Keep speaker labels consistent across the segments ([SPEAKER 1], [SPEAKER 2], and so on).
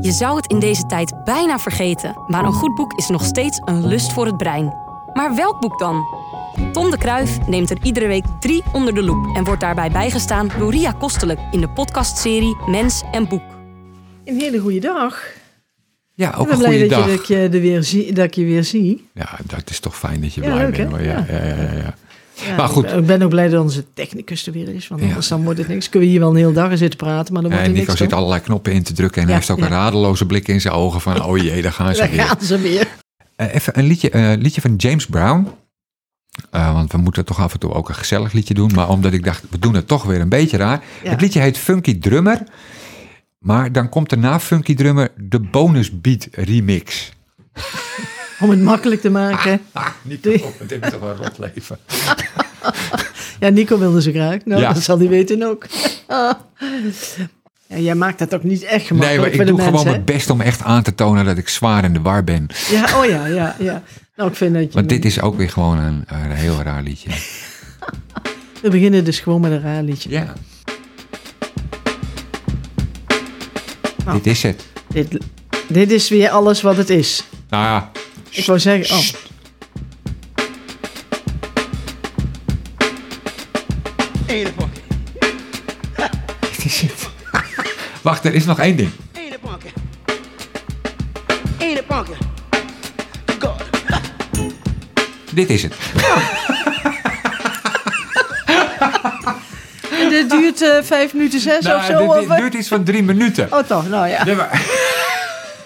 [SPEAKER 1] Je zou het in deze tijd bijna vergeten, maar een goed boek is nog steeds een lust voor het brein. Maar welk boek dan? Tom de Kruif neemt er iedere week drie onder de loep en wordt daarbij bijgestaan door Ria Kostelijk in de podcastserie Mens en Boek.
[SPEAKER 2] Een hele goede dag.
[SPEAKER 3] Ja,
[SPEAKER 2] Ik
[SPEAKER 3] ook
[SPEAKER 2] ben
[SPEAKER 3] een
[SPEAKER 2] blij
[SPEAKER 3] goede
[SPEAKER 2] dat je,
[SPEAKER 3] dag.
[SPEAKER 2] dat, je eh, er weer zie, dat ik je weer zie.
[SPEAKER 3] Ja, dat is toch fijn dat je
[SPEAKER 2] Ja,
[SPEAKER 3] blij
[SPEAKER 2] leuk,
[SPEAKER 3] bent.
[SPEAKER 2] hè?
[SPEAKER 3] hoor. Ja, ja, ja, ja, ja.
[SPEAKER 2] Ja,
[SPEAKER 3] Maar Ah, goed.
[SPEAKER 2] Ik ben- ik ben ook blij dat onze technicus er weer is, want
[SPEAKER 3] Ja.
[SPEAKER 2] anders dan wordt het niks. Kunnen we hier wel een hele dag in zitten praten, maar dan wordt het
[SPEAKER 3] En eh, Nico
[SPEAKER 2] niks.
[SPEAKER 3] zit
[SPEAKER 2] toch?
[SPEAKER 3] allerlei knoppen in te drukken en
[SPEAKER 2] Ja,
[SPEAKER 3] hij heeft ook
[SPEAKER 2] ja.
[SPEAKER 3] een radeloze blik in zijn ogen van, oh jee, daar gaan ze
[SPEAKER 2] Daar
[SPEAKER 3] weer.
[SPEAKER 2] gaan ze weer.
[SPEAKER 3] Eh, even een liedje, eh, liedje van James Brown. Eh, want we moeten toch af en toe ook een gezellig liedje doen. Maar omdat ik dacht, we doen het toch weer een beetje raar.
[SPEAKER 2] Ja.
[SPEAKER 3] Het liedje heet Funky Drummer. Maar dan komt er na Funky Drummer de bonus beat remix.
[SPEAKER 2] Om het makkelijk te maken.
[SPEAKER 3] Ah, niet
[SPEAKER 2] Doei.
[SPEAKER 3] het is toch wel een rot leven.
[SPEAKER 2] Ja, Nico wilde ze graag. Nou,
[SPEAKER 3] Ja.
[SPEAKER 2] dat zal hij weten ook. ja, jij maakt dat ook niet echt
[SPEAKER 3] Nee,
[SPEAKER 2] gemakkelijk
[SPEAKER 3] maar ik
[SPEAKER 2] voor de
[SPEAKER 3] doe gewoon
[SPEAKER 2] mensen.
[SPEAKER 3] mijn best om echt aan te tonen dat ik zwaar in de war ben.
[SPEAKER 2] hè? Ja, oh ja, ja, ja. Nou, ik vind dat je...
[SPEAKER 3] Want dit is ook weer gewoon een, een heel raar liedje.
[SPEAKER 2] We beginnen dus gewoon met een raar liedje.
[SPEAKER 3] Ja.
[SPEAKER 2] Nou.
[SPEAKER 3] Oh. Dit is het.
[SPEAKER 2] Dit, dit is weer alles wat het is.
[SPEAKER 3] Nou ja,
[SPEAKER 2] Ik wou zeggen... Oh.
[SPEAKER 4] Ene bonkie,
[SPEAKER 3] dit is het. Wacht, er is nog één ding.
[SPEAKER 4] ene bonkie. Ene bonkie. God.
[SPEAKER 3] Dit is het.
[SPEAKER 2] En dit duurt eh, vijf minuten zes
[SPEAKER 3] Nou,
[SPEAKER 2] of zo?
[SPEAKER 3] dit-
[SPEAKER 2] of
[SPEAKER 3] dit
[SPEAKER 2] wat?
[SPEAKER 3] duurt iets van drie minuten.
[SPEAKER 2] Oh toch, nou ja.
[SPEAKER 3] Ja, maar-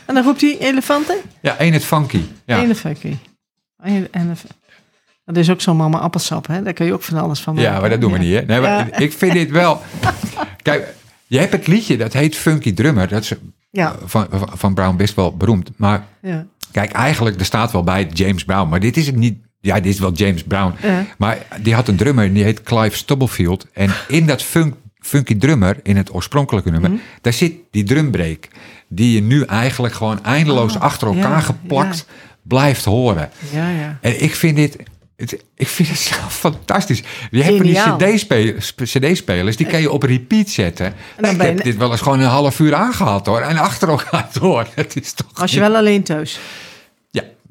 [SPEAKER 2] En dan roept hij elefanten?
[SPEAKER 3] ja, één het funky. Ja.
[SPEAKER 2] Elefantje. Ele- elef- Dat is ook zo'n mama appelsap, hè? Daar kun je ook van alles van maken.
[SPEAKER 3] ja, maar dat doen we
[SPEAKER 2] Ja.
[SPEAKER 3] niet, hè? Nee, maar
[SPEAKER 2] Ja.
[SPEAKER 3] Ik vind dit wel... Kijk, je hebt het liedje, dat heet Funky Drummer. Dat is eh,
[SPEAKER 2] Ja,
[SPEAKER 3] van, van- van Brown best wel beroemd. Maar
[SPEAKER 2] ja.
[SPEAKER 3] kijk, eigenlijk, er staat wel bij James Brown. Maar dit is het niet... Ja, dit is wel James Brown.
[SPEAKER 2] Ja.
[SPEAKER 3] Maar die had een drummer en die heet Clive Stubblefield. En in dat funk, funky drummer, in het oorspronkelijke nummer,
[SPEAKER 2] Mhm.
[SPEAKER 3] daar zit die drumbreak. Die je nu eigenlijk gewoon eindeloos achter elkaar
[SPEAKER 2] Oh, ja,
[SPEAKER 3] geplakt blijft horen.
[SPEAKER 2] ja, ja.
[SPEAKER 3] En ik vind dit. het- ik vind het zo fantastisch. Je hebt van
[SPEAKER 2] Geniaal.
[SPEAKER 3] die CD-spelers, cd-spelers, die kan je op repeat zetten.
[SPEAKER 2] ben
[SPEAKER 3] ik
[SPEAKER 2] je
[SPEAKER 3] heb
[SPEAKER 2] ne-
[SPEAKER 3] dit wel eens gewoon een half uur aangehad hoor. En achter elkaar door. Het is toch.
[SPEAKER 2] Was je
[SPEAKER 3] niet-
[SPEAKER 2] wel alleen thuis?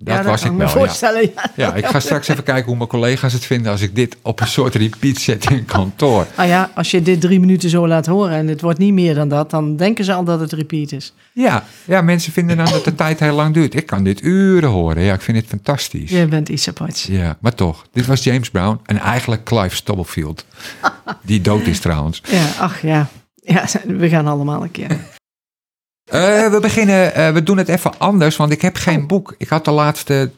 [SPEAKER 3] Ja, dat,
[SPEAKER 2] ja,
[SPEAKER 3] was
[SPEAKER 2] kan
[SPEAKER 3] ik
[SPEAKER 2] me
[SPEAKER 3] wel. Ja.
[SPEAKER 2] voorstellen, ja.
[SPEAKER 3] Ja, ik ga straks even kijken hoe mijn collega's het vinden als ik dit op een soort repeat zet in kantoor.
[SPEAKER 2] Nou ja, als je dit drie minuten zo laat horen en het wordt niet meer dan dat, dan denken ze al dat het repeat is.
[SPEAKER 3] Ja, ja mensen vinden dan dat de tijd heel lang duurt. Ik kan dit uren horen. Ja, ik vind het fantastisch.
[SPEAKER 2] Je bent iets aparts.
[SPEAKER 3] Ja, maar toch. Dit was James Brown en eigenlijk Clive Stubblefield. Die dood is trouwens.
[SPEAKER 2] Ja, ach ja. Ja, we gaan allemaal een keer.
[SPEAKER 3] Eh, we beginnen, eh, we doen het even anders, want ik heb geen boek. Ik had de laatste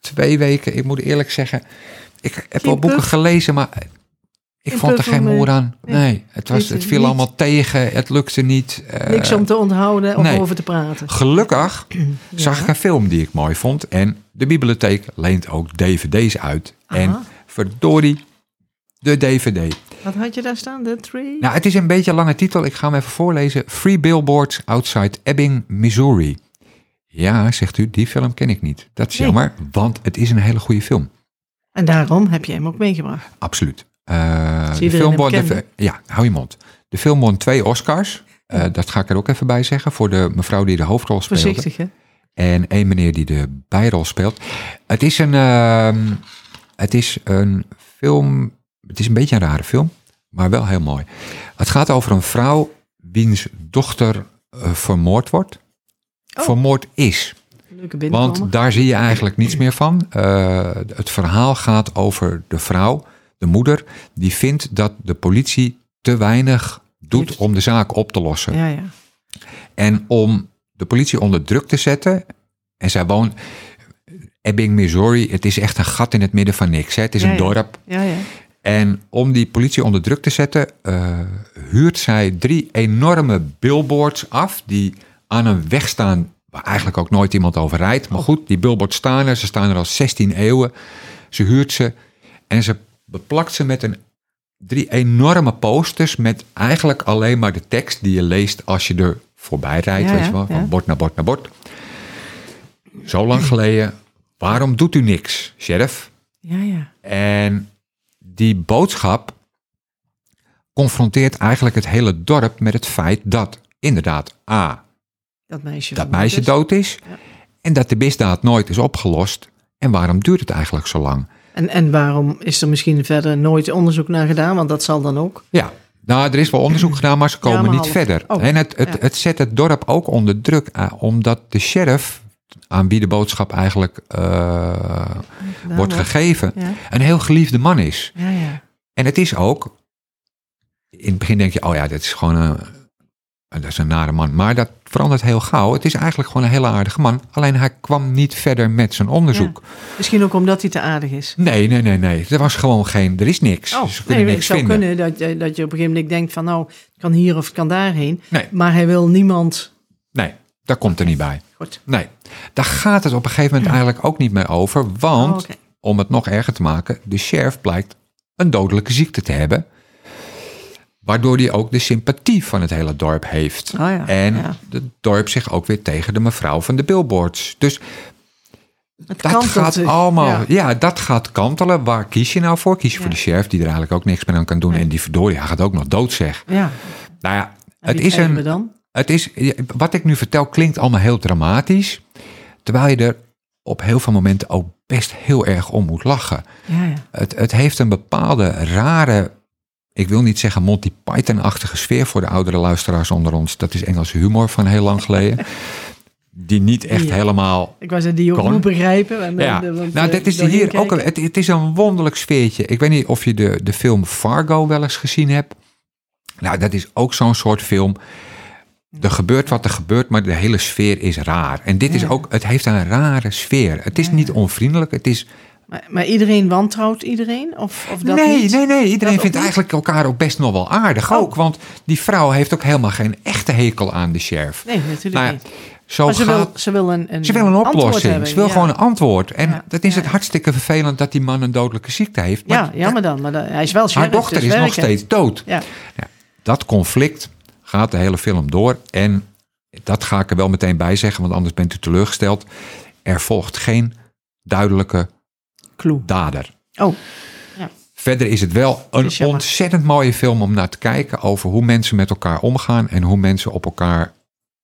[SPEAKER 3] twee weken, ik moet eerlijk zeggen, ik heb wel
[SPEAKER 2] Geen
[SPEAKER 3] boeken
[SPEAKER 2] puff?
[SPEAKER 3] gelezen, maar ik
[SPEAKER 2] Geen
[SPEAKER 3] vond er
[SPEAKER 2] puff
[SPEAKER 3] geen
[SPEAKER 2] om, eh,
[SPEAKER 3] moer aan.
[SPEAKER 2] nee.
[SPEAKER 3] Nee, het, was,
[SPEAKER 2] Niet-
[SPEAKER 3] het viel
[SPEAKER 2] niet-
[SPEAKER 3] allemaal tegen, het lukte niet. eh,
[SPEAKER 2] Niks om te onthouden of
[SPEAKER 3] nee.
[SPEAKER 2] over te praten.
[SPEAKER 3] Gelukkig zag
[SPEAKER 2] Ja.
[SPEAKER 3] ik een film die ik mooi vond en de bibliotheek leent ook dvd's uit. En
[SPEAKER 2] Aha.
[SPEAKER 3] verdorie, de dvd.
[SPEAKER 2] Wat had je daar staan? De tree?
[SPEAKER 3] Nou, het is een beetje een lange titel. Ik ga hem even voorlezen. Free Billboards Outside Ebbing, Missouri. Ja, zegt u, die film ken ik niet. Dat is
[SPEAKER 2] Nee.
[SPEAKER 3] jammer, want het is een hele goede film.
[SPEAKER 2] En daarom heb je hem ook meegebracht.
[SPEAKER 3] Absoluut. Eh,
[SPEAKER 2] Zie
[SPEAKER 3] de
[SPEAKER 2] je
[SPEAKER 3] film
[SPEAKER 2] erin
[SPEAKER 3] won,
[SPEAKER 2] hem
[SPEAKER 3] de,
[SPEAKER 2] kennen?
[SPEAKER 3] ja, hou je mond. De film won twee Oscars. Eh, dat ga ik er ook even bij zeggen. Voor de mevrouw die de hoofdrol speelde.
[SPEAKER 2] Voorzichtig, hè?
[SPEAKER 3] En één meneer die de bijrol speelt. Het is een, ehm, het is een film. Het is een beetje een rare film, maar wel heel mooi. Het gaat over een vrouw wiens dochter eh, vermoord wordt.
[SPEAKER 2] Oh.
[SPEAKER 3] Vermoord is.
[SPEAKER 2] Leuke
[SPEAKER 3] Want
[SPEAKER 2] binnenkomen.
[SPEAKER 3] daar zie je eigenlijk niets meer van. Eh, het verhaal gaat over de vrouw, de moeder, die vindt dat de politie te weinig doet
[SPEAKER 2] Heeft-
[SPEAKER 3] om de zaak op te lossen.
[SPEAKER 2] Ja, ja.
[SPEAKER 3] En om de politie onder druk te zetten. En zij woont. Ebbing, Missouri. Het is echt een gat in het midden van niks. Hè? Het is
[SPEAKER 2] Ja,
[SPEAKER 3] een
[SPEAKER 2] ja.
[SPEAKER 3] dorp.
[SPEAKER 2] Ja, ja.
[SPEAKER 3] En om die politie onder druk te zetten. eh, huurt zij drie enorme billboards af. Die aan een weg staan. Waar eigenlijk ook nooit iemand over rijdt. Maar goed, die billboards staan er. Ze staan er al 16 eeuwen. Ze huurt ze. En ze beplakt ze met een. Drie enorme posters met eigenlijk alleen maar de tekst die je leest als je er voorbij rijdt.
[SPEAKER 2] Ja,
[SPEAKER 3] weet je
[SPEAKER 2] ja,
[SPEAKER 3] wel, van
[SPEAKER 2] ja.
[SPEAKER 3] bord naar bord naar bord. Zo lang geleden. Waarom doet u niks, sheriff?
[SPEAKER 2] Ja, ja.
[SPEAKER 3] En die boodschap confronteert eigenlijk het hele dorp met het feit dat inderdaad A.
[SPEAKER 2] Dat meisje.
[SPEAKER 3] dat
[SPEAKER 2] vermoord
[SPEAKER 3] meisje
[SPEAKER 2] is.
[SPEAKER 3] dood is.
[SPEAKER 2] Ja.
[SPEAKER 3] En dat de misdaad nooit is opgelost. En waarom duurt het eigenlijk zo lang?
[SPEAKER 2] En, en waarom is er misschien verder nooit onderzoek naar gedaan? Want dat zal dan ook.
[SPEAKER 3] Ja, nou, er is wel onderzoek gedaan, maar ze komen
[SPEAKER 2] maar
[SPEAKER 3] niet
[SPEAKER 2] half.
[SPEAKER 3] verder.
[SPEAKER 2] Oh,
[SPEAKER 3] en het, het,
[SPEAKER 2] ja.
[SPEAKER 3] het zet het dorp ook onder druk, eh, omdat de sheriff, aan wie de boodschap eigenlijk eh,
[SPEAKER 2] gedaan
[SPEAKER 3] wordt gegeven,
[SPEAKER 2] Ja,
[SPEAKER 3] een heel geliefde man is.
[SPEAKER 2] ja. ja.
[SPEAKER 3] En het is ook, in het begin denk je, oh ja, dat is gewoon een, eh, dat is een nare man. Maar dat verandert heel gauw. Het is eigenlijk gewoon een hele aardige man. Alleen hij kwam niet verder met zijn onderzoek.
[SPEAKER 2] Misschien ook omdat hij te aardig is.
[SPEAKER 3] Nee, nee, nee, nee. Er was gewoon geen, er is niks.
[SPEAKER 2] Oh,
[SPEAKER 3] Ze
[SPEAKER 2] nee,
[SPEAKER 3] kunnen
[SPEAKER 2] het
[SPEAKER 3] niks
[SPEAKER 2] zou
[SPEAKER 3] vinden.
[SPEAKER 2] kunnen dat, je- dat je op een gegeven moment denkt van nou, het kan hier of het kan daarheen.
[SPEAKER 3] Nee.
[SPEAKER 2] Maar hij wil niemand.
[SPEAKER 3] Nee, daar komt er niet bij.
[SPEAKER 2] Goed.
[SPEAKER 3] Nee, daar gaat het op een gegeven moment eigenlijk ook niet meer over. Want,
[SPEAKER 2] Oh, oké.
[SPEAKER 3] om het nog erger te maken, de sheriff blijkt een dodelijke ziekte te hebben. Waardoor hij ook de sympathie van het hele dorp heeft.
[SPEAKER 2] Oh ja,
[SPEAKER 3] en
[SPEAKER 2] ja.
[SPEAKER 3] het dorp zich ook weer tegen de mevrouw van de billboards. Dus
[SPEAKER 2] Het
[SPEAKER 3] dat
[SPEAKER 2] kantelt
[SPEAKER 3] gaat
[SPEAKER 2] dus.
[SPEAKER 3] allemaal. Ja.
[SPEAKER 2] Ja.
[SPEAKER 3] dat gaat kantelen. Waar kies je nou voor? Kies je voor de sheriff, die er eigenlijk ook niks meer aan kan doen. En die verdorie, hij gaat ook nog dood, zeg.
[SPEAKER 2] Ja.
[SPEAKER 3] Nou ja,
[SPEAKER 2] En
[SPEAKER 3] het
[SPEAKER 2] wie
[SPEAKER 3] is
[SPEAKER 2] krijgen
[SPEAKER 3] een,
[SPEAKER 2] we dan?
[SPEAKER 3] het is, wat ik nu vertel klinkt allemaal heel dramatisch. Terwijl je er op heel veel momenten ook best heel erg om moet lachen.
[SPEAKER 2] Ja, ja.
[SPEAKER 3] Het, het heeft een bepaalde rare, ik wil niet zeggen Monty Python-achtige sfeer voor de oudere luisteraars onder ons. Dat is Engelse humor van heel lang geleden. Die niet echt
[SPEAKER 2] Ja.
[SPEAKER 3] helemaal
[SPEAKER 2] Ik was die ook
[SPEAKER 3] Kon.
[SPEAKER 2] moet begrijpen. En,
[SPEAKER 3] ja.
[SPEAKER 2] eh, want,
[SPEAKER 3] nou,
[SPEAKER 2] eh,
[SPEAKER 3] dit is
[SPEAKER 2] doorheen
[SPEAKER 3] hier
[SPEAKER 2] kijken.
[SPEAKER 3] ook. een- Het, het is een wonderlijk sfeertje. Ik weet niet of je de, de film Fargo wel eens gezien hebt. Nou, dat is ook zo'n soort film. Er gebeurt wat er gebeurt, maar de hele sfeer is raar. En dit is
[SPEAKER 2] Ja.
[SPEAKER 3] ook, het heeft een rare sfeer. Het is niet onvriendelijk. Het is.
[SPEAKER 2] Maar, maar iedereen wantrouwt iedereen? Of, of dat
[SPEAKER 3] nee,
[SPEAKER 2] niet?
[SPEAKER 3] nee, nee. Iedereen
[SPEAKER 2] ook
[SPEAKER 3] vindt
[SPEAKER 2] niet?
[SPEAKER 3] eigenlijk elkaar ook best nog wel aardig.
[SPEAKER 2] Oh.
[SPEAKER 3] Ook, want die vrouw heeft ook helemaal geen echte hekel aan de sheriff.
[SPEAKER 2] Nee, natuurlijk
[SPEAKER 3] Nou ja,
[SPEAKER 2] niet.
[SPEAKER 3] zo
[SPEAKER 2] Maar ze
[SPEAKER 3] gaat-
[SPEAKER 2] wil, ze wil een, een,
[SPEAKER 3] Ze wil een
[SPEAKER 2] antwoord
[SPEAKER 3] oplossing.
[SPEAKER 2] hebben,
[SPEAKER 3] Ze wil
[SPEAKER 2] ja.
[SPEAKER 3] gewoon een antwoord. En
[SPEAKER 2] Ja.
[SPEAKER 3] dat is het
[SPEAKER 2] Ja.
[SPEAKER 3] hartstikke vervelend dat die man een dodelijke ziekte heeft. Maar
[SPEAKER 2] Ja, ja, maar dan. Maar dan- hij is wel
[SPEAKER 3] haar
[SPEAKER 2] sheriff,
[SPEAKER 3] dochter
[SPEAKER 2] dus
[SPEAKER 3] is nog
[SPEAKER 2] werken.
[SPEAKER 3] steeds dood.
[SPEAKER 2] Ja.
[SPEAKER 3] Dat conflict gaat de hele film door. En dat ga ik er wel meteen bij zeggen, want anders bent u teleurgesteld. Er volgt geen duidelijke
[SPEAKER 2] Clue.
[SPEAKER 3] dader.
[SPEAKER 2] Oh,
[SPEAKER 3] Verder is het wel
[SPEAKER 2] Is
[SPEAKER 3] een
[SPEAKER 2] jammer.
[SPEAKER 3] ontzettend mooie film om naar te kijken over hoe mensen met elkaar omgaan en hoe mensen op elkaar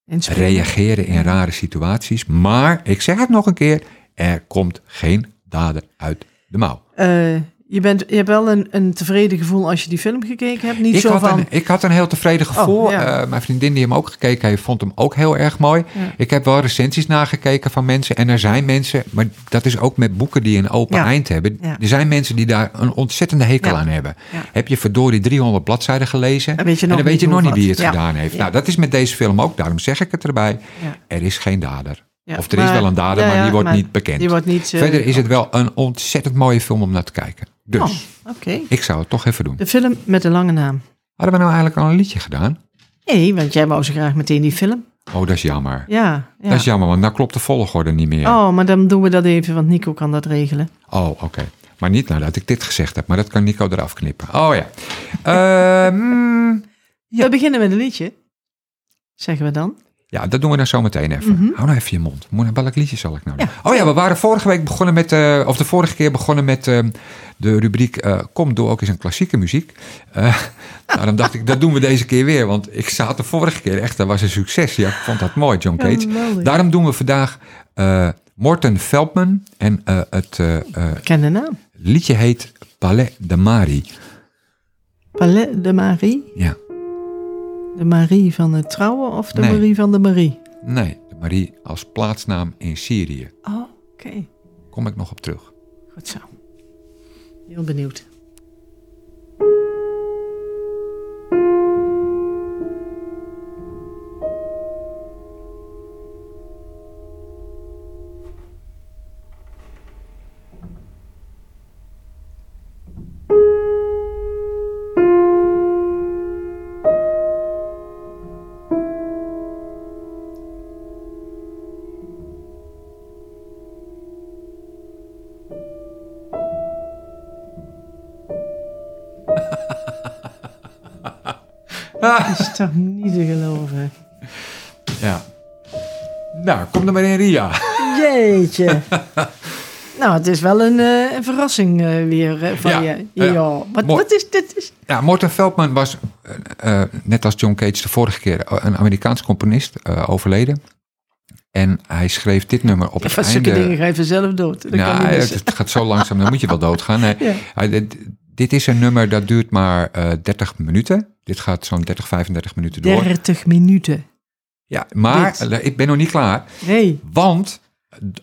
[SPEAKER 2] inspelen.
[SPEAKER 3] reageren in rare situaties. Maar ik zeg het nog een keer: er komt geen dader uit de mouw.
[SPEAKER 2] Eh, je, bent, je hebt wel een, een tevreden gevoel als je die film gekeken hebt. Niet
[SPEAKER 3] Ik
[SPEAKER 2] zo
[SPEAKER 3] had,
[SPEAKER 2] van...
[SPEAKER 3] een, ik had een heel tevreden gevoel.
[SPEAKER 2] Oh, ja.
[SPEAKER 3] Eh, mijn vriendin die hem ook gekeken heeft, vond hem ook heel erg mooi.
[SPEAKER 2] Ja.
[SPEAKER 3] Ik heb wel recensies nagekeken van mensen. En er zijn mensen, maar dat is ook met boeken die een open
[SPEAKER 2] Ja.
[SPEAKER 3] eind hebben.
[SPEAKER 2] Ja.
[SPEAKER 3] Er zijn mensen die daar een ontzettende hekel
[SPEAKER 2] Ja.
[SPEAKER 3] aan hebben.
[SPEAKER 2] Ja.
[SPEAKER 3] Heb je verdorie 300 bladzijden gelezen?
[SPEAKER 2] En weet je nog
[SPEAKER 3] dan weet
[SPEAKER 2] niet
[SPEAKER 3] je nog
[SPEAKER 2] hoe
[SPEAKER 3] niet wie het
[SPEAKER 2] wat. Ja.
[SPEAKER 3] gedaan heeft.
[SPEAKER 2] Ja.
[SPEAKER 3] Nou, dat is met deze film ook. Daarom zeg ik het erbij.
[SPEAKER 2] Ja.
[SPEAKER 3] Er is geen dader.
[SPEAKER 2] Ja,
[SPEAKER 3] of er is
[SPEAKER 2] maar-
[SPEAKER 3] wel een dader,
[SPEAKER 2] ja,
[SPEAKER 3] maar die
[SPEAKER 2] ja,
[SPEAKER 3] wordt
[SPEAKER 2] maar
[SPEAKER 3] niet bekend.
[SPEAKER 2] Die wordt niet... eh,
[SPEAKER 3] Verder is het wel een ontzettend mooie film om naar te kijken. Dus
[SPEAKER 2] Oh, Oké.
[SPEAKER 3] ik zou het toch even doen.
[SPEAKER 2] De film met de lange naam.
[SPEAKER 3] Hadden we nou eigenlijk al een liedje gedaan?
[SPEAKER 2] Nee, want jij wou zo graag meteen die film.
[SPEAKER 3] Oh, dat is jammer.
[SPEAKER 2] Ja. ja.
[SPEAKER 3] Dat is jammer, want nou klopt de volgorde niet meer. Oh,
[SPEAKER 2] Oh, maar dan doen we dat even, want Nico kan dat regelen.
[SPEAKER 3] oké. Maar niet nadat ik dit gezegd heb, maar dat kan Nico eraf knippen. Oh ja. Ehm,
[SPEAKER 2] We beginnen met een liedje. Zeggen we dan?
[SPEAKER 3] ja, dat doen we dan zo meteen even. Hou nou even je mond. Moet- Welk liedje zal ik nou doen?
[SPEAKER 2] Mhm. Ja.
[SPEAKER 3] Oh ja, we waren vorige week begonnen met, eh, of de vorige keer begonnen met ehm, de rubriek eh, Kom, doe ook eens een klassieke muziek. Eh daarom dacht ik, dat doen we deze keer weer, want ik zat de vorige keer echt, dat was een succes. Ja, ik vond dat mooi, John Cage.
[SPEAKER 2] Geweldig.
[SPEAKER 3] Daarom doen we vandaag eh, Morten Veldman en eh, het eh, eh,
[SPEAKER 2] Bekende naam.
[SPEAKER 3] liedje heet Palais de Mari.
[SPEAKER 2] Palais de Marie.
[SPEAKER 3] Ja,
[SPEAKER 2] De Marie van het trouwen of de
[SPEAKER 3] Nee.
[SPEAKER 2] Marie van de Marie?
[SPEAKER 3] nee, de Marie als plaatsnaam in Syrië.
[SPEAKER 2] Oh, oké.
[SPEAKER 3] Kom ik nog op terug.
[SPEAKER 2] Goed zo. Heel benieuwd.
[SPEAKER 3] Ah.
[SPEAKER 2] Dat is toch niet te geloven.
[SPEAKER 3] Ja. Nou, kom er maar in, Ria.
[SPEAKER 2] Jeetje. nou, het is wel een, eh, een verrassing eh, weer eh, van
[SPEAKER 3] Ja,
[SPEAKER 2] je.
[SPEAKER 3] ja.
[SPEAKER 2] Ja. Wat,
[SPEAKER 3] Mooi.
[SPEAKER 2] wat is dit? Is...
[SPEAKER 3] Ja, Morten Veldman was, eh, eh, net als John Cage de vorige keer, eh, een Amerikaans componist, eh, overleden. En hij schreef dit nummer op
[SPEAKER 2] Ja,
[SPEAKER 3] het
[SPEAKER 2] van zulke dingen
[SPEAKER 3] einde.
[SPEAKER 2] ga je dus vanzelf dood. Dat kan
[SPEAKER 3] Nou,
[SPEAKER 2] niet
[SPEAKER 3] het,
[SPEAKER 2] missen.
[SPEAKER 3] het gaat zo langzaam, dan moet je wel doodgaan. Nee,
[SPEAKER 2] Ja.
[SPEAKER 3] hij- dit, dit is een nummer dat duurt maar eh 30 minuten. Dit gaat zo'n 30, 35 minuten door.
[SPEAKER 2] 30 minuten.
[SPEAKER 3] Ja, maar
[SPEAKER 2] Dit.
[SPEAKER 3] eh, ik ben nog niet klaar.
[SPEAKER 2] Nee.
[SPEAKER 3] Want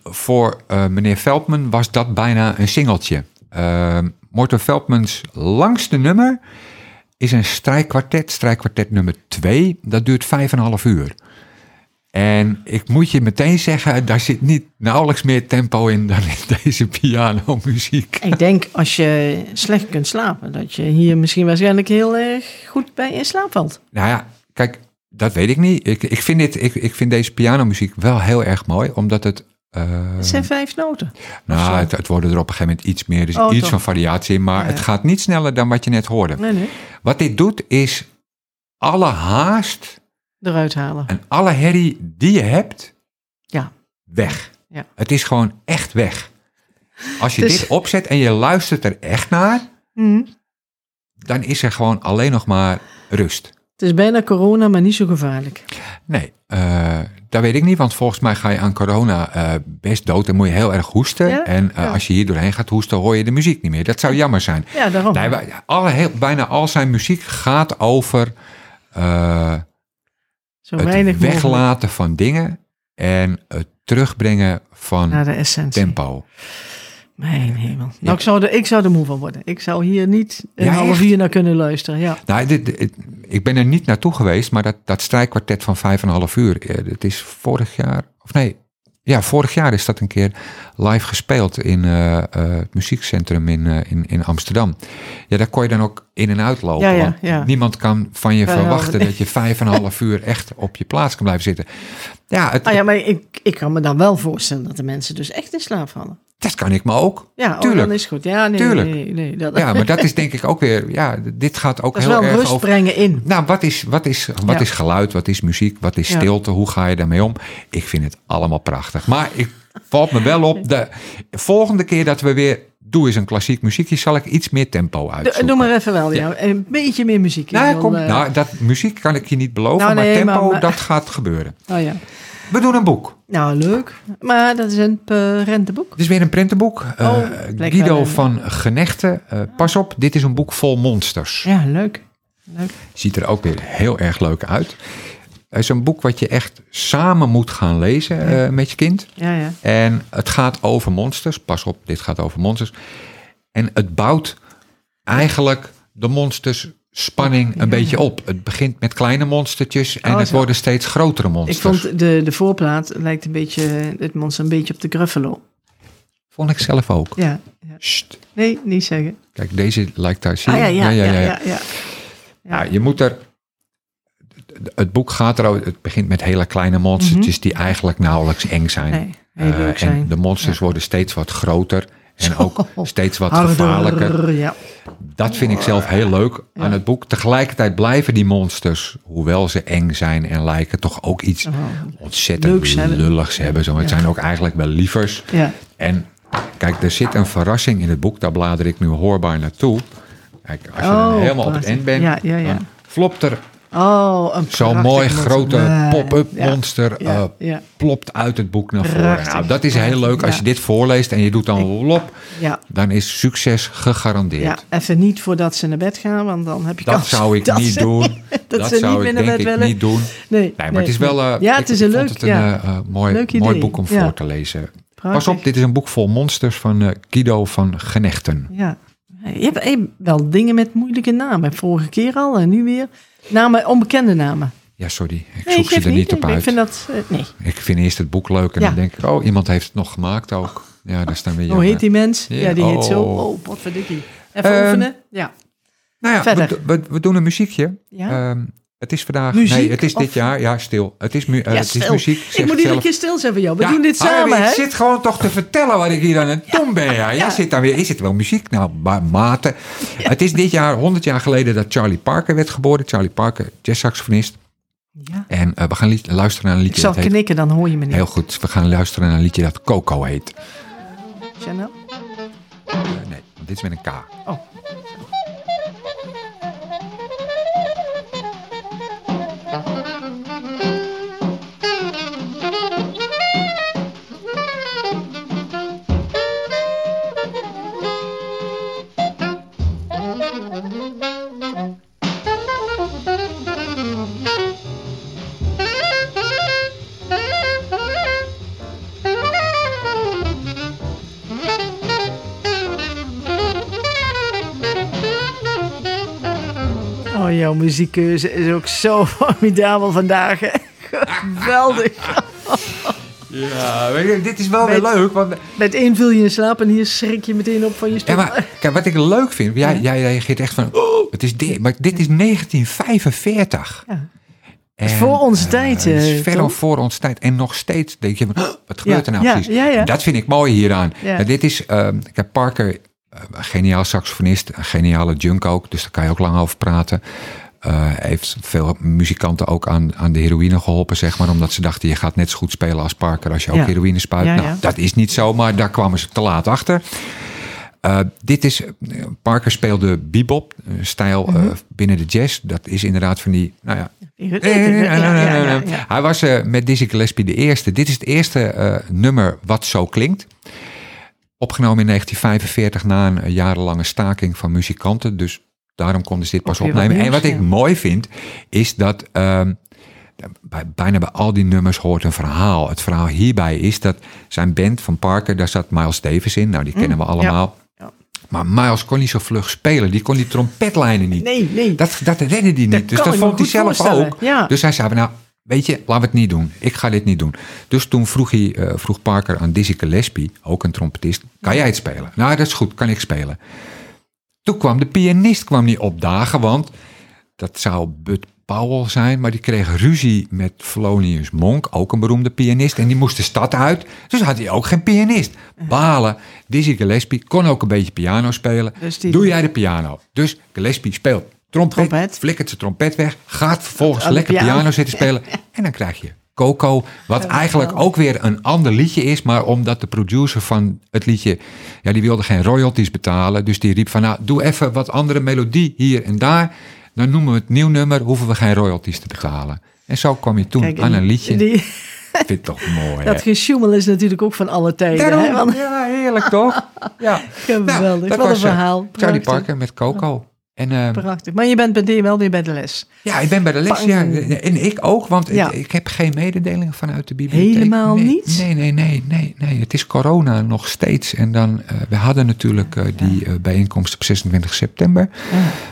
[SPEAKER 3] voor eh, meneer Veldman was dat bijna een singeltje. Eh, Morten Veldmans langste nummer is een strijkkwartet, strijkkwartet nummer 2. Dat duurt 5,5 uur. En ik moet je meteen zeggen, daar zit niet nauwelijks meer tempo in dan in deze pianomuziek.
[SPEAKER 2] Ik denk als je slecht kunt slapen, dat je hier misschien waarschijnlijk heel erg goed bij in slaap valt.
[SPEAKER 3] Nou ja, kijk, dat weet ik niet. Ik, ik, vind, dit, ik, ik vind deze pianomuziek wel heel erg mooi, omdat het... eh,
[SPEAKER 2] Het zijn vijf noten.
[SPEAKER 3] Nou,
[SPEAKER 2] zo.
[SPEAKER 3] het, het worden er op een gegeven moment iets meer, dus
[SPEAKER 2] Oh,
[SPEAKER 3] iets
[SPEAKER 2] toch.
[SPEAKER 3] van variatie in, maar
[SPEAKER 2] Ja.
[SPEAKER 3] het gaat niet sneller dan wat je net hoorde.
[SPEAKER 2] Nee, nee.
[SPEAKER 3] Wat dit doet is alle haast
[SPEAKER 2] Eruit halen.
[SPEAKER 3] en alle herrie die je hebt,
[SPEAKER 2] Ja.
[SPEAKER 3] weg.
[SPEAKER 2] Ja.
[SPEAKER 3] Het is gewoon echt weg. Als je
[SPEAKER 2] Dus-
[SPEAKER 3] dit opzet en je luistert er echt naar,
[SPEAKER 2] Hm.
[SPEAKER 3] dan is er gewoon alleen nog maar rust.
[SPEAKER 2] Het is bijna corona, maar niet zo gevaarlijk.
[SPEAKER 3] Nee, eh dat weet ik niet, want volgens mij ga je aan corona eh, best dood en moet je heel erg hoesten.
[SPEAKER 2] Ja,
[SPEAKER 3] En eh,
[SPEAKER 2] ja.
[SPEAKER 3] als je hier doorheen gaat hoesten, hoor je de muziek niet meer. Dat zou jammer zijn.
[SPEAKER 2] Ja, daarom.
[SPEAKER 3] Nee, wij- alle, heel, bijna al zijn muziek gaat over eh,
[SPEAKER 2] zo weinig
[SPEAKER 3] het
[SPEAKER 2] mogelijk
[SPEAKER 3] weglaten van dingen en het terugbrengen van
[SPEAKER 2] naar de essentie.
[SPEAKER 3] tempo.
[SPEAKER 2] Mijn hemel. Nou,
[SPEAKER 3] Ja.
[SPEAKER 2] ik, zou er, ik zou er moe van worden. Ik zou hier niet een
[SPEAKER 3] Ja,
[SPEAKER 2] half
[SPEAKER 3] echt?
[SPEAKER 2] uur naar kunnen luisteren. Ja.
[SPEAKER 3] Nou, dit, dit- ik ben er niet naartoe geweest, maar dat, dat strijkkwartet van vijf en een half uur, eh, dat is vorig jaar, of nee, ja, vorig jaar is dat een keer live gespeeld in eh, eh, het muziekcentrum in, eh, in, in Amsterdam. Ja, daar kon je dan ook in en uit lopen.
[SPEAKER 2] Ja, ja,
[SPEAKER 3] want
[SPEAKER 2] ja.
[SPEAKER 3] Niemand kan van je
[SPEAKER 2] Ja, ja,
[SPEAKER 3] verwachten
[SPEAKER 2] want-
[SPEAKER 3] dat je vijf en een half uur echt op je plaats kan blijven zitten. Ja, het,
[SPEAKER 2] Ah ja, maar ik, ik kan me dan wel voorstellen dat de mensen dus echt in slaap vallen.
[SPEAKER 3] Dat kan ik me ook.
[SPEAKER 2] Ja, oh,
[SPEAKER 3] Tuurlijk.
[SPEAKER 2] dan is het goed. Ja, nee,
[SPEAKER 3] Tuurlijk.
[SPEAKER 2] nee, nee. Dat,
[SPEAKER 3] Ja, maar dat is denk ik ook weer. Ja, d- dit gaat ook
[SPEAKER 2] dat is
[SPEAKER 3] heel
[SPEAKER 2] wel
[SPEAKER 3] erg
[SPEAKER 2] rust
[SPEAKER 3] over.
[SPEAKER 2] brengen in.
[SPEAKER 3] Nou, wat is, wat, is, wat
[SPEAKER 2] Ja.
[SPEAKER 3] is geluid? Wat is muziek? Wat is
[SPEAKER 2] Ja.
[SPEAKER 3] stilte? Hoe ga je daarmee om? Ik vind het allemaal prachtig. Maar ik valt me wel op. De volgende keer dat we weer. Doe eens een klassiek muziekje. Zal ik iets meer tempo
[SPEAKER 2] Doe-
[SPEAKER 3] uitzoeken.
[SPEAKER 2] Doe maar even wel, ja.
[SPEAKER 3] Ja.
[SPEAKER 2] Een beetje meer muziek. in,
[SPEAKER 3] Nou,
[SPEAKER 2] dan,
[SPEAKER 3] kom,
[SPEAKER 2] eh,
[SPEAKER 3] nou, dat muziek kan ik je niet beloven.
[SPEAKER 2] Nou,
[SPEAKER 3] maar
[SPEAKER 2] nee,
[SPEAKER 3] tempo,
[SPEAKER 2] maar- maar-
[SPEAKER 3] dat gaat gebeuren.
[SPEAKER 2] oh ja.
[SPEAKER 3] We doen een boek.
[SPEAKER 2] Nou, leuk. Maar dat is een eh, renteboek.
[SPEAKER 3] Het is weer een prentenboek. Eh,
[SPEAKER 2] Oh, lekker.
[SPEAKER 3] Guido van Genechten. Eh, pas op, dit is een boek vol monsters.
[SPEAKER 2] Ja, leuk. leuk.
[SPEAKER 3] Ziet er ook weer heel erg leuk uit. Het is een boek wat je echt samen moet gaan lezen eh, met je kind.
[SPEAKER 2] Ja, ja.
[SPEAKER 3] En het gaat over monsters. Pas op, dit gaat over monsters. En het bouwt eigenlijk de monsters spanning een beetje op. Het begint met kleine monstertjes en
[SPEAKER 2] Oh,
[SPEAKER 3] het
[SPEAKER 2] zo.
[SPEAKER 3] worden steeds grotere
[SPEAKER 2] Ik
[SPEAKER 3] monsters.
[SPEAKER 2] vond de, de voorplaat lijkt een beetje, het monster een beetje op de Gruffalo.
[SPEAKER 3] Vond ik zelf ook.
[SPEAKER 2] Ja. ja.
[SPEAKER 3] Sst.
[SPEAKER 2] Nee, niet zeggen.
[SPEAKER 3] Kijk, deze lijkt daar zien.
[SPEAKER 2] Ah ja, ja, ja, ja. ja,
[SPEAKER 3] Ja, Nou, je moet er. Het boek gaat erover. Het begint met hele kleine monstertjes die eigenlijk nauwelijks eng zijn.
[SPEAKER 2] Mhm. Nee, heel
[SPEAKER 3] Eh,
[SPEAKER 2] leuk
[SPEAKER 3] En
[SPEAKER 2] zijn.
[SPEAKER 3] de monsters worden steeds wat groter en ook steeds wat
[SPEAKER 2] Harder,
[SPEAKER 3] gevaarlijker.
[SPEAKER 2] Ja.
[SPEAKER 3] Dat vind ik zelf heel leuk aan het boek. Tegelijkertijd blijven die monsters, hoewel ze eng zijn en lijken, toch ook iets
[SPEAKER 2] Oh,
[SPEAKER 3] ontzettend
[SPEAKER 2] Leuks hebben.
[SPEAKER 3] lulligs hebben. Zo, het zijn ook eigenlijk wel lievers.
[SPEAKER 2] ja.
[SPEAKER 3] En kijk, er zit een verrassing in het boek. Daar blader ik nu hoorbaar naartoe. Kijk, als je dan
[SPEAKER 2] Oh,
[SPEAKER 3] helemaal op het
[SPEAKER 2] prachtig.
[SPEAKER 3] eind bent,
[SPEAKER 2] Ja, ja, ja.
[SPEAKER 3] dan flopt er
[SPEAKER 2] Oh, een
[SPEAKER 3] Zo'n
[SPEAKER 2] prachtig
[SPEAKER 3] mooi
[SPEAKER 2] monster.
[SPEAKER 3] grote
[SPEAKER 2] Nee,
[SPEAKER 3] pop-up
[SPEAKER 2] ja,
[SPEAKER 3] monster eh,
[SPEAKER 2] Ja, ja,
[SPEAKER 3] plopt uit het boek naar voren.
[SPEAKER 2] Prachtig.
[SPEAKER 3] Nou, dat is heel leuk. Als
[SPEAKER 2] Ja.
[SPEAKER 3] je dit voorleest en je doet dan lop,
[SPEAKER 2] ja,
[SPEAKER 3] dan is succes gegarandeerd.
[SPEAKER 2] ja. even niet voordat ze naar bed gaan, want dan heb je
[SPEAKER 3] Dat
[SPEAKER 2] kans
[SPEAKER 3] zou ik
[SPEAKER 2] dat
[SPEAKER 3] niet
[SPEAKER 2] ze-
[SPEAKER 3] doen.
[SPEAKER 2] dat
[SPEAKER 3] Dat,
[SPEAKER 2] ze niet
[SPEAKER 3] zou
[SPEAKER 2] meer
[SPEAKER 3] ik
[SPEAKER 2] naar
[SPEAKER 3] denk
[SPEAKER 2] bed
[SPEAKER 3] ik
[SPEAKER 2] willen.
[SPEAKER 3] niet doen.
[SPEAKER 2] Nee,
[SPEAKER 3] Nee, maar het is wel... eh,
[SPEAKER 2] ja,
[SPEAKER 3] ik-
[SPEAKER 2] het is
[SPEAKER 3] ik
[SPEAKER 2] een
[SPEAKER 3] vond
[SPEAKER 2] leuk,
[SPEAKER 3] het een
[SPEAKER 2] ja.
[SPEAKER 3] eh, eh, mooi,
[SPEAKER 2] Leuk
[SPEAKER 3] mooi
[SPEAKER 2] idee.
[SPEAKER 3] boek om
[SPEAKER 2] Ja.
[SPEAKER 3] voor te lezen.
[SPEAKER 2] Prachtig.
[SPEAKER 3] Pas op, dit is een boek vol monsters van eh, Guido van Genechten.
[SPEAKER 2] Ja. Je hebt eh, wel dingen met moeilijke namen. Vorige keer al en nu weer. Namen, onbekende namen.
[SPEAKER 3] Ja, sorry. Ik
[SPEAKER 2] Nee,
[SPEAKER 3] zoek ze
[SPEAKER 2] geeft
[SPEAKER 3] er niet,
[SPEAKER 2] Ik
[SPEAKER 3] op
[SPEAKER 2] ben-
[SPEAKER 3] uit.
[SPEAKER 2] Ik vind dat... eh, nee.
[SPEAKER 3] Ik vind eerst het boek leuk en
[SPEAKER 2] Ja.
[SPEAKER 3] dan denk ik... Oh, iemand heeft het nog gemaakt ook. Ja, daar staan we
[SPEAKER 2] Hoe heet die mens? Ja,
[SPEAKER 3] Ja,
[SPEAKER 2] die heet zo.
[SPEAKER 3] oh.
[SPEAKER 2] Oh, wat verdikkie. Even
[SPEAKER 3] Ehm,
[SPEAKER 2] oefenen. Ja.
[SPEAKER 3] Nou ja,
[SPEAKER 2] Verder.
[SPEAKER 3] We, we, we doen een muziekje.
[SPEAKER 2] Ja?
[SPEAKER 3] Ehm, het is vandaag.
[SPEAKER 2] Muziek
[SPEAKER 3] nee, het is dit
[SPEAKER 2] of-
[SPEAKER 3] jaar. Ja, stil. Het is, mu eh,
[SPEAKER 2] Ja,
[SPEAKER 3] het is
[SPEAKER 2] stil.
[SPEAKER 3] muziek.
[SPEAKER 2] Ik
[SPEAKER 3] zegt
[SPEAKER 2] moet iedere
[SPEAKER 3] zelf.
[SPEAKER 2] keer stil zijn voor jou. We
[SPEAKER 3] Ja,
[SPEAKER 2] doen dit
[SPEAKER 3] Harry,
[SPEAKER 2] samen, hè?
[SPEAKER 3] Ik zit gewoon toch te vertellen wat ik hier aan het doen ben. Ja. Jij zit dan weer. Is het wel muziek? Nou, ma- mate. Het is dit jaar, 100 jaar geleden, dat Charlie Parker werd geboren. Charlie Parker, jazzsaxofonist.
[SPEAKER 2] Ja.
[SPEAKER 3] En eh, we gaan lied- luisteren naar een
[SPEAKER 2] Ik
[SPEAKER 3] liedje
[SPEAKER 2] zal
[SPEAKER 3] dat heet...
[SPEAKER 2] knikken, dan hoor je me niet.
[SPEAKER 3] Heel goed. We gaan luisteren naar een liedje dat Coco heet.
[SPEAKER 2] Chanel?
[SPEAKER 3] Eh, nee, want dit is met een K.
[SPEAKER 2] Oh.
[SPEAKER 5] Thank you.
[SPEAKER 2] Oh, jouw muziekkeuze is ook zo formidabel vandaag. hè. Geweldig.
[SPEAKER 3] Ja, weet je, dit is wel weer
[SPEAKER 2] Weet-
[SPEAKER 3] leuk. Want,
[SPEAKER 2] Met één viel je in slaap en hier schrik je meteen op van je
[SPEAKER 3] ja,
[SPEAKER 2] stoel.
[SPEAKER 3] maar, kijk, wat ik leuk vind, jij, jij reageert echt van, oh, het is dit, maar dit is 1945.
[SPEAKER 2] Ja.
[SPEAKER 3] En,
[SPEAKER 2] is voor onze
[SPEAKER 3] eh,
[SPEAKER 2] tijd,
[SPEAKER 3] het
[SPEAKER 2] eh,
[SPEAKER 3] is ver
[SPEAKER 2] Tom.
[SPEAKER 3] voor onze tijd. En nog steeds denk je, van, oh, wat gebeurt er nou
[SPEAKER 2] ja,
[SPEAKER 3] precies?
[SPEAKER 2] ja, ja.
[SPEAKER 3] Dat vind ik mooi hieraan.
[SPEAKER 2] Ja.
[SPEAKER 3] En dit is, ehm, kijk, Parker, eh, een geniaal saxofonist, een geniale junk ook, dus daar kan je ook lang over praten. Eh, Hij heeft veel muzikanten ook aan, aan de heroïne geholpen, zeg maar. Omdat ze dachten, je gaat net zo goed spelen als Parker als je ook
[SPEAKER 2] Ja.
[SPEAKER 3] heroïne spuit.
[SPEAKER 2] Ja,
[SPEAKER 3] nou,
[SPEAKER 2] ja.
[SPEAKER 3] dat is niet zo, maar daar kwamen ze te laat achter. Eh, dit is, eh, Parker speelde bebop, een stijl eh,
[SPEAKER 2] Mhm.
[SPEAKER 3] binnen de jazz. Dat is inderdaad van die, nou ja, hij was eh, met Dizzy Gillespie de eerste. Dit is het eerste eh, nummer wat zo klinkt. Opgenomen in 1945 na een eh, jarenlange staking van muzikanten. Dus daarom konden ze dit pas
[SPEAKER 2] Ook weer wat
[SPEAKER 3] opnemen. En
[SPEAKER 2] nieuws,
[SPEAKER 3] wat ik
[SPEAKER 2] ja.
[SPEAKER 3] mooi vind, is dat ehm, bij, bijna bij al die nummers hoort een verhaal. Het verhaal hierbij is dat zijn band van Parker, daar zat Miles Davis in. Nou, die kennen we allemaal.
[SPEAKER 2] Mm, Ja.
[SPEAKER 3] Maar Miles kon niet zo vlug spelen. Die kon die trompetlijnen niet.
[SPEAKER 2] Nee, nee.
[SPEAKER 3] Dat, dat redde die niet.
[SPEAKER 2] Dat
[SPEAKER 3] dus
[SPEAKER 2] kan
[SPEAKER 3] dat
[SPEAKER 2] ik me
[SPEAKER 3] vond hij
[SPEAKER 2] goed
[SPEAKER 3] zelf
[SPEAKER 2] voorstellen,
[SPEAKER 3] ook.
[SPEAKER 2] ja.
[SPEAKER 3] Dus hij zei, van, nou, weet je, laten we het niet doen. Ik ga dit niet doen. Dus toen vroeg, hij, eh, vroeg Parker aan Dizzy Gillespie, ook een trompetist, kan jij het spelen? Nou, dat is goed, kan ik spelen. Toen kwam de pianist kwam niet opdagen, want dat zou Bud Powell zijn, maar die kreeg ruzie met Thelonious Monk, ook een beroemde pianist, en die moest de stad uit, dus had hij ook geen pianist. Balen, Dizzy Gillespie kon ook een beetje piano spelen.
[SPEAKER 2] Dus die-
[SPEAKER 3] Doe jij de piano? Dus Gillespie speelt trompet,
[SPEAKER 2] Trompet.
[SPEAKER 3] flikkert zijn trompet weg, gaat vervolgens
[SPEAKER 2] Aan de
[SPEAKER 3] lekker
[SPEAKER 2] piano.
[SPEAKER 3] piano zitten spelen en dan krijg je Coco, wat eigenlijk ook weer een ander liedje is, maar omdat de producer van het liedje, ja, die wilde geen royalties betalen, dus die riep van, nou, doe even wat andere melodie hier en daar, dan noemen we het nieuw nummer, hoeven we geen royalties te betalen. En zo kwam je toen
[SPEAKER 2] Kijk,
[SPEAKER 3] aan een liedje.
[SPEAKER 2] die-
[SPEAKER 3] Vind ik toch mooi, hè?
[SPEAKER 2] dat gesjoemel is natuurlijk ook van alle tijden.
[SPEAKER 3] Daarom.
[SPEAKER 2] hè, want-
[SPEAKER 3] ja, heerlijk toch? Ja. Nou,
[SPEAKER 2] geweldig.
[SPEAKER 3] dat
[SPEAKER 2] Wat een
[SPEAKER 3] was, eh,
[SPEAKER 2] verhaal.
[SPEAKER 3] Charlie
[SPEAKER 2] Prachtig,
[SPEAKER 3] Parker met Coco. En ehm,
[SPEAKER 2] Prachtig. Maar je bent bij die wel weer bij de les.
[SPEAKER 3] Ja, ik ben bij de les.
[SPEAKER 2] Bang.
[SPEAKER 3] Ja. En ik ook, want
[SPEAKER 2] Ja.
[SPEAKER 3] ik, ik heb geen mededelingen vanuit de bibliotheek.
[SPEAKER 2] Helemaal
[SPEAKER 3] nee,
[SPEAKER 2] niets?
[SPEAKER 3] Nee, nee, nee, nee, nee. Het is corona nog steeds. En dan, eh, we hadden natuurlijk eh, die eh, bijeenkomst op 26 september.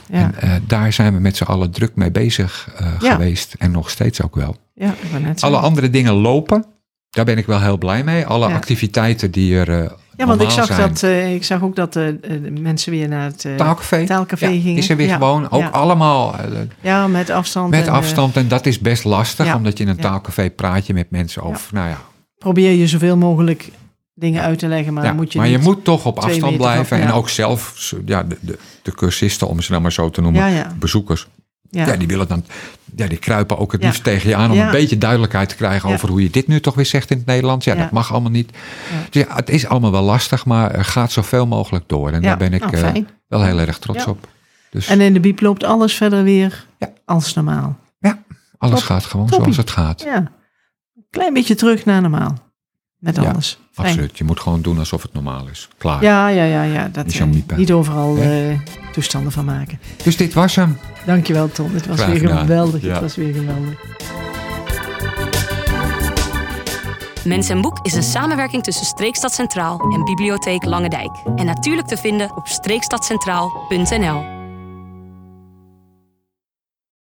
[SPEAKER 2] Ja,
[SPEAKER 3] En eh, daar zijn we met z'n allen druk mee bezig eh,
[SPEAKER 2] Ja.
[SPEAKER 3] geweest. En nog steeds ook wel.
[SPEAKER 2] ja ik wou net
[SPEAKER 3] Alle
[SPEAKER 2] zeggen.
[SPEAKER 3] andere dingen lopen. Daar ben ik wel heel blij mee. Alle
[SPEAKER 2] Ja.
[SPEAKER 3] activiteiten die er eh
[SPEAKER 2] Ja, want ik
[SPEAKER 3] normaal
[SPEAKER 2] zag,
[SPEAKER 3] zijn.
[SPEAKER 2] dat, eh, ik zag ook dat eh, eh, de mensen weer naar het eh,
[SPEAKER 3] Taalcafé,
[SPEAKER 2] taalcafé
[SPEAKER 3] Ja,
[SPEAKER 2] gingen.
[SPEAKER 3] is er weer
[SPEAKER 2] Ja,
[SPEAKER 3] gewoon. Ook
[SPEAKER 2] ja.
[SPEAKER 3] allemaal eh,
[SPEAKER 2] Ja, met afstand.
[SPEAKER 3] Met
[SPEAKER 2] en, eh,
[SPEAKER 3] afstand, en dat is best lastig,
[SPEAKER 2] ja,
[SPEAKER 3] omdat je in een
[SPEAKER 2] ja.
[SPEAKER 3] taalcafé praat je met mensen over, nou ja.
[SPEAKER 2] probeer je zoveel mogelijk dingen uit te leggen, maar
[SPEAKER 3] ja,
[SPEAKER 2] moet je
[SPEAKER 3] maar je
[SPEAKER 2] niet-
[SPEAKER 3] moet toch op
[SPEAKER 2] twee
[SPEAKER 3] afstand
[SPEAKER 2] meter
[SPEAKER 3] blijven
[SPEAKER 2] van-
[SPEAKER 3] en
[SPEAKER 2] ja.
[SPEAKER 3] ook zelf, zo- ja, de, de, de cursisten, om ze nou maar zo te noemen,
[SPEAKER 2] Ja, ja.
[SPEAKER 3] bezoekers,
[SPEAKER 2] Ja,
[SPEAKER 3] ja. die willen dan, ja, die kruipen ook het
[SPEAKER 2] Ja.
[SPEAKER 3] liefst tegen je aan om
[SPEAKER 2] Ja.
[SPEAKER 3] een beetje duidelijkheid te krijgen
[SPEAKER 2] Ja.
[SPEAKER 3] over hoe je dit nu toch weer zegt in het Nederlands. Ja,
[SPEAKER 2] Ja.
[SPEAKER 3] dat mag allemaal niet.
[SPEAKER 2] Ja.
[SPEAKER 3] Dus ja, het is allemaal wel lastig, maar er gaat zoveel mogelijk door en
[SPEAKER 2] Ja,
[SPEAKER 3] daar ben ik
[SPEAKER 2] nou,
[SPEAKER 3] eh,
[SPEAKER 2] fijn.
[SPEAKER 3] wel heel erg trots
[SPEAKER 2] Ja.
[SPEAKER 3] op. Dus
[SPEAKER 2] En in de biep loopt alles verder weer
[SPEAKER 3] Ja.
[SPEAKER 2] als normaal.
[SPEAKER 3] ja, alles
[SPEAKER 2] top.
[SPEAKER 3] gaat gewoon
[SPEAKER 2] Toppie.
[SPEAKER 3] zoals het gaat.
[SPEAKER 2] Ja, een klein beetje terug naar normaal. Met
[SPEAKER 3] Ja,
[SPEAKER 2] alles. Fijn.
[SPEAKER 3] Absoluut, je moet gewoon doen alsof het normaal is. Klaar.
[SPEAKER 2] Ja, ja, ja, ja. Dat,
[SPEAKER 3] Is
[SPEAKER 2] eh,
[SPEAKER 3] jouw miepen.
[SPEAKER 2] niet overal eh, toestanden van maken.
[SPEAKER 3] Dus dit was hem.
[SPEAKER 2] Dankjewel, Tom. Het was
[SPEAKER 3] Graag
[SPEAKER 2] weer
[SPEAKER 3] gedaan.
[SPEAKER 2] geweldig. Het
[SPEAKER 3] Ja.
[SPEAKER 2] was weer geweldig.
[SPEAKER 1] Mens en Boek is een samenwerking tussen Streekstad Centraal en Bibliotheek Langendijk. En natuurlijk te vinden op streekstadcentraal.nl.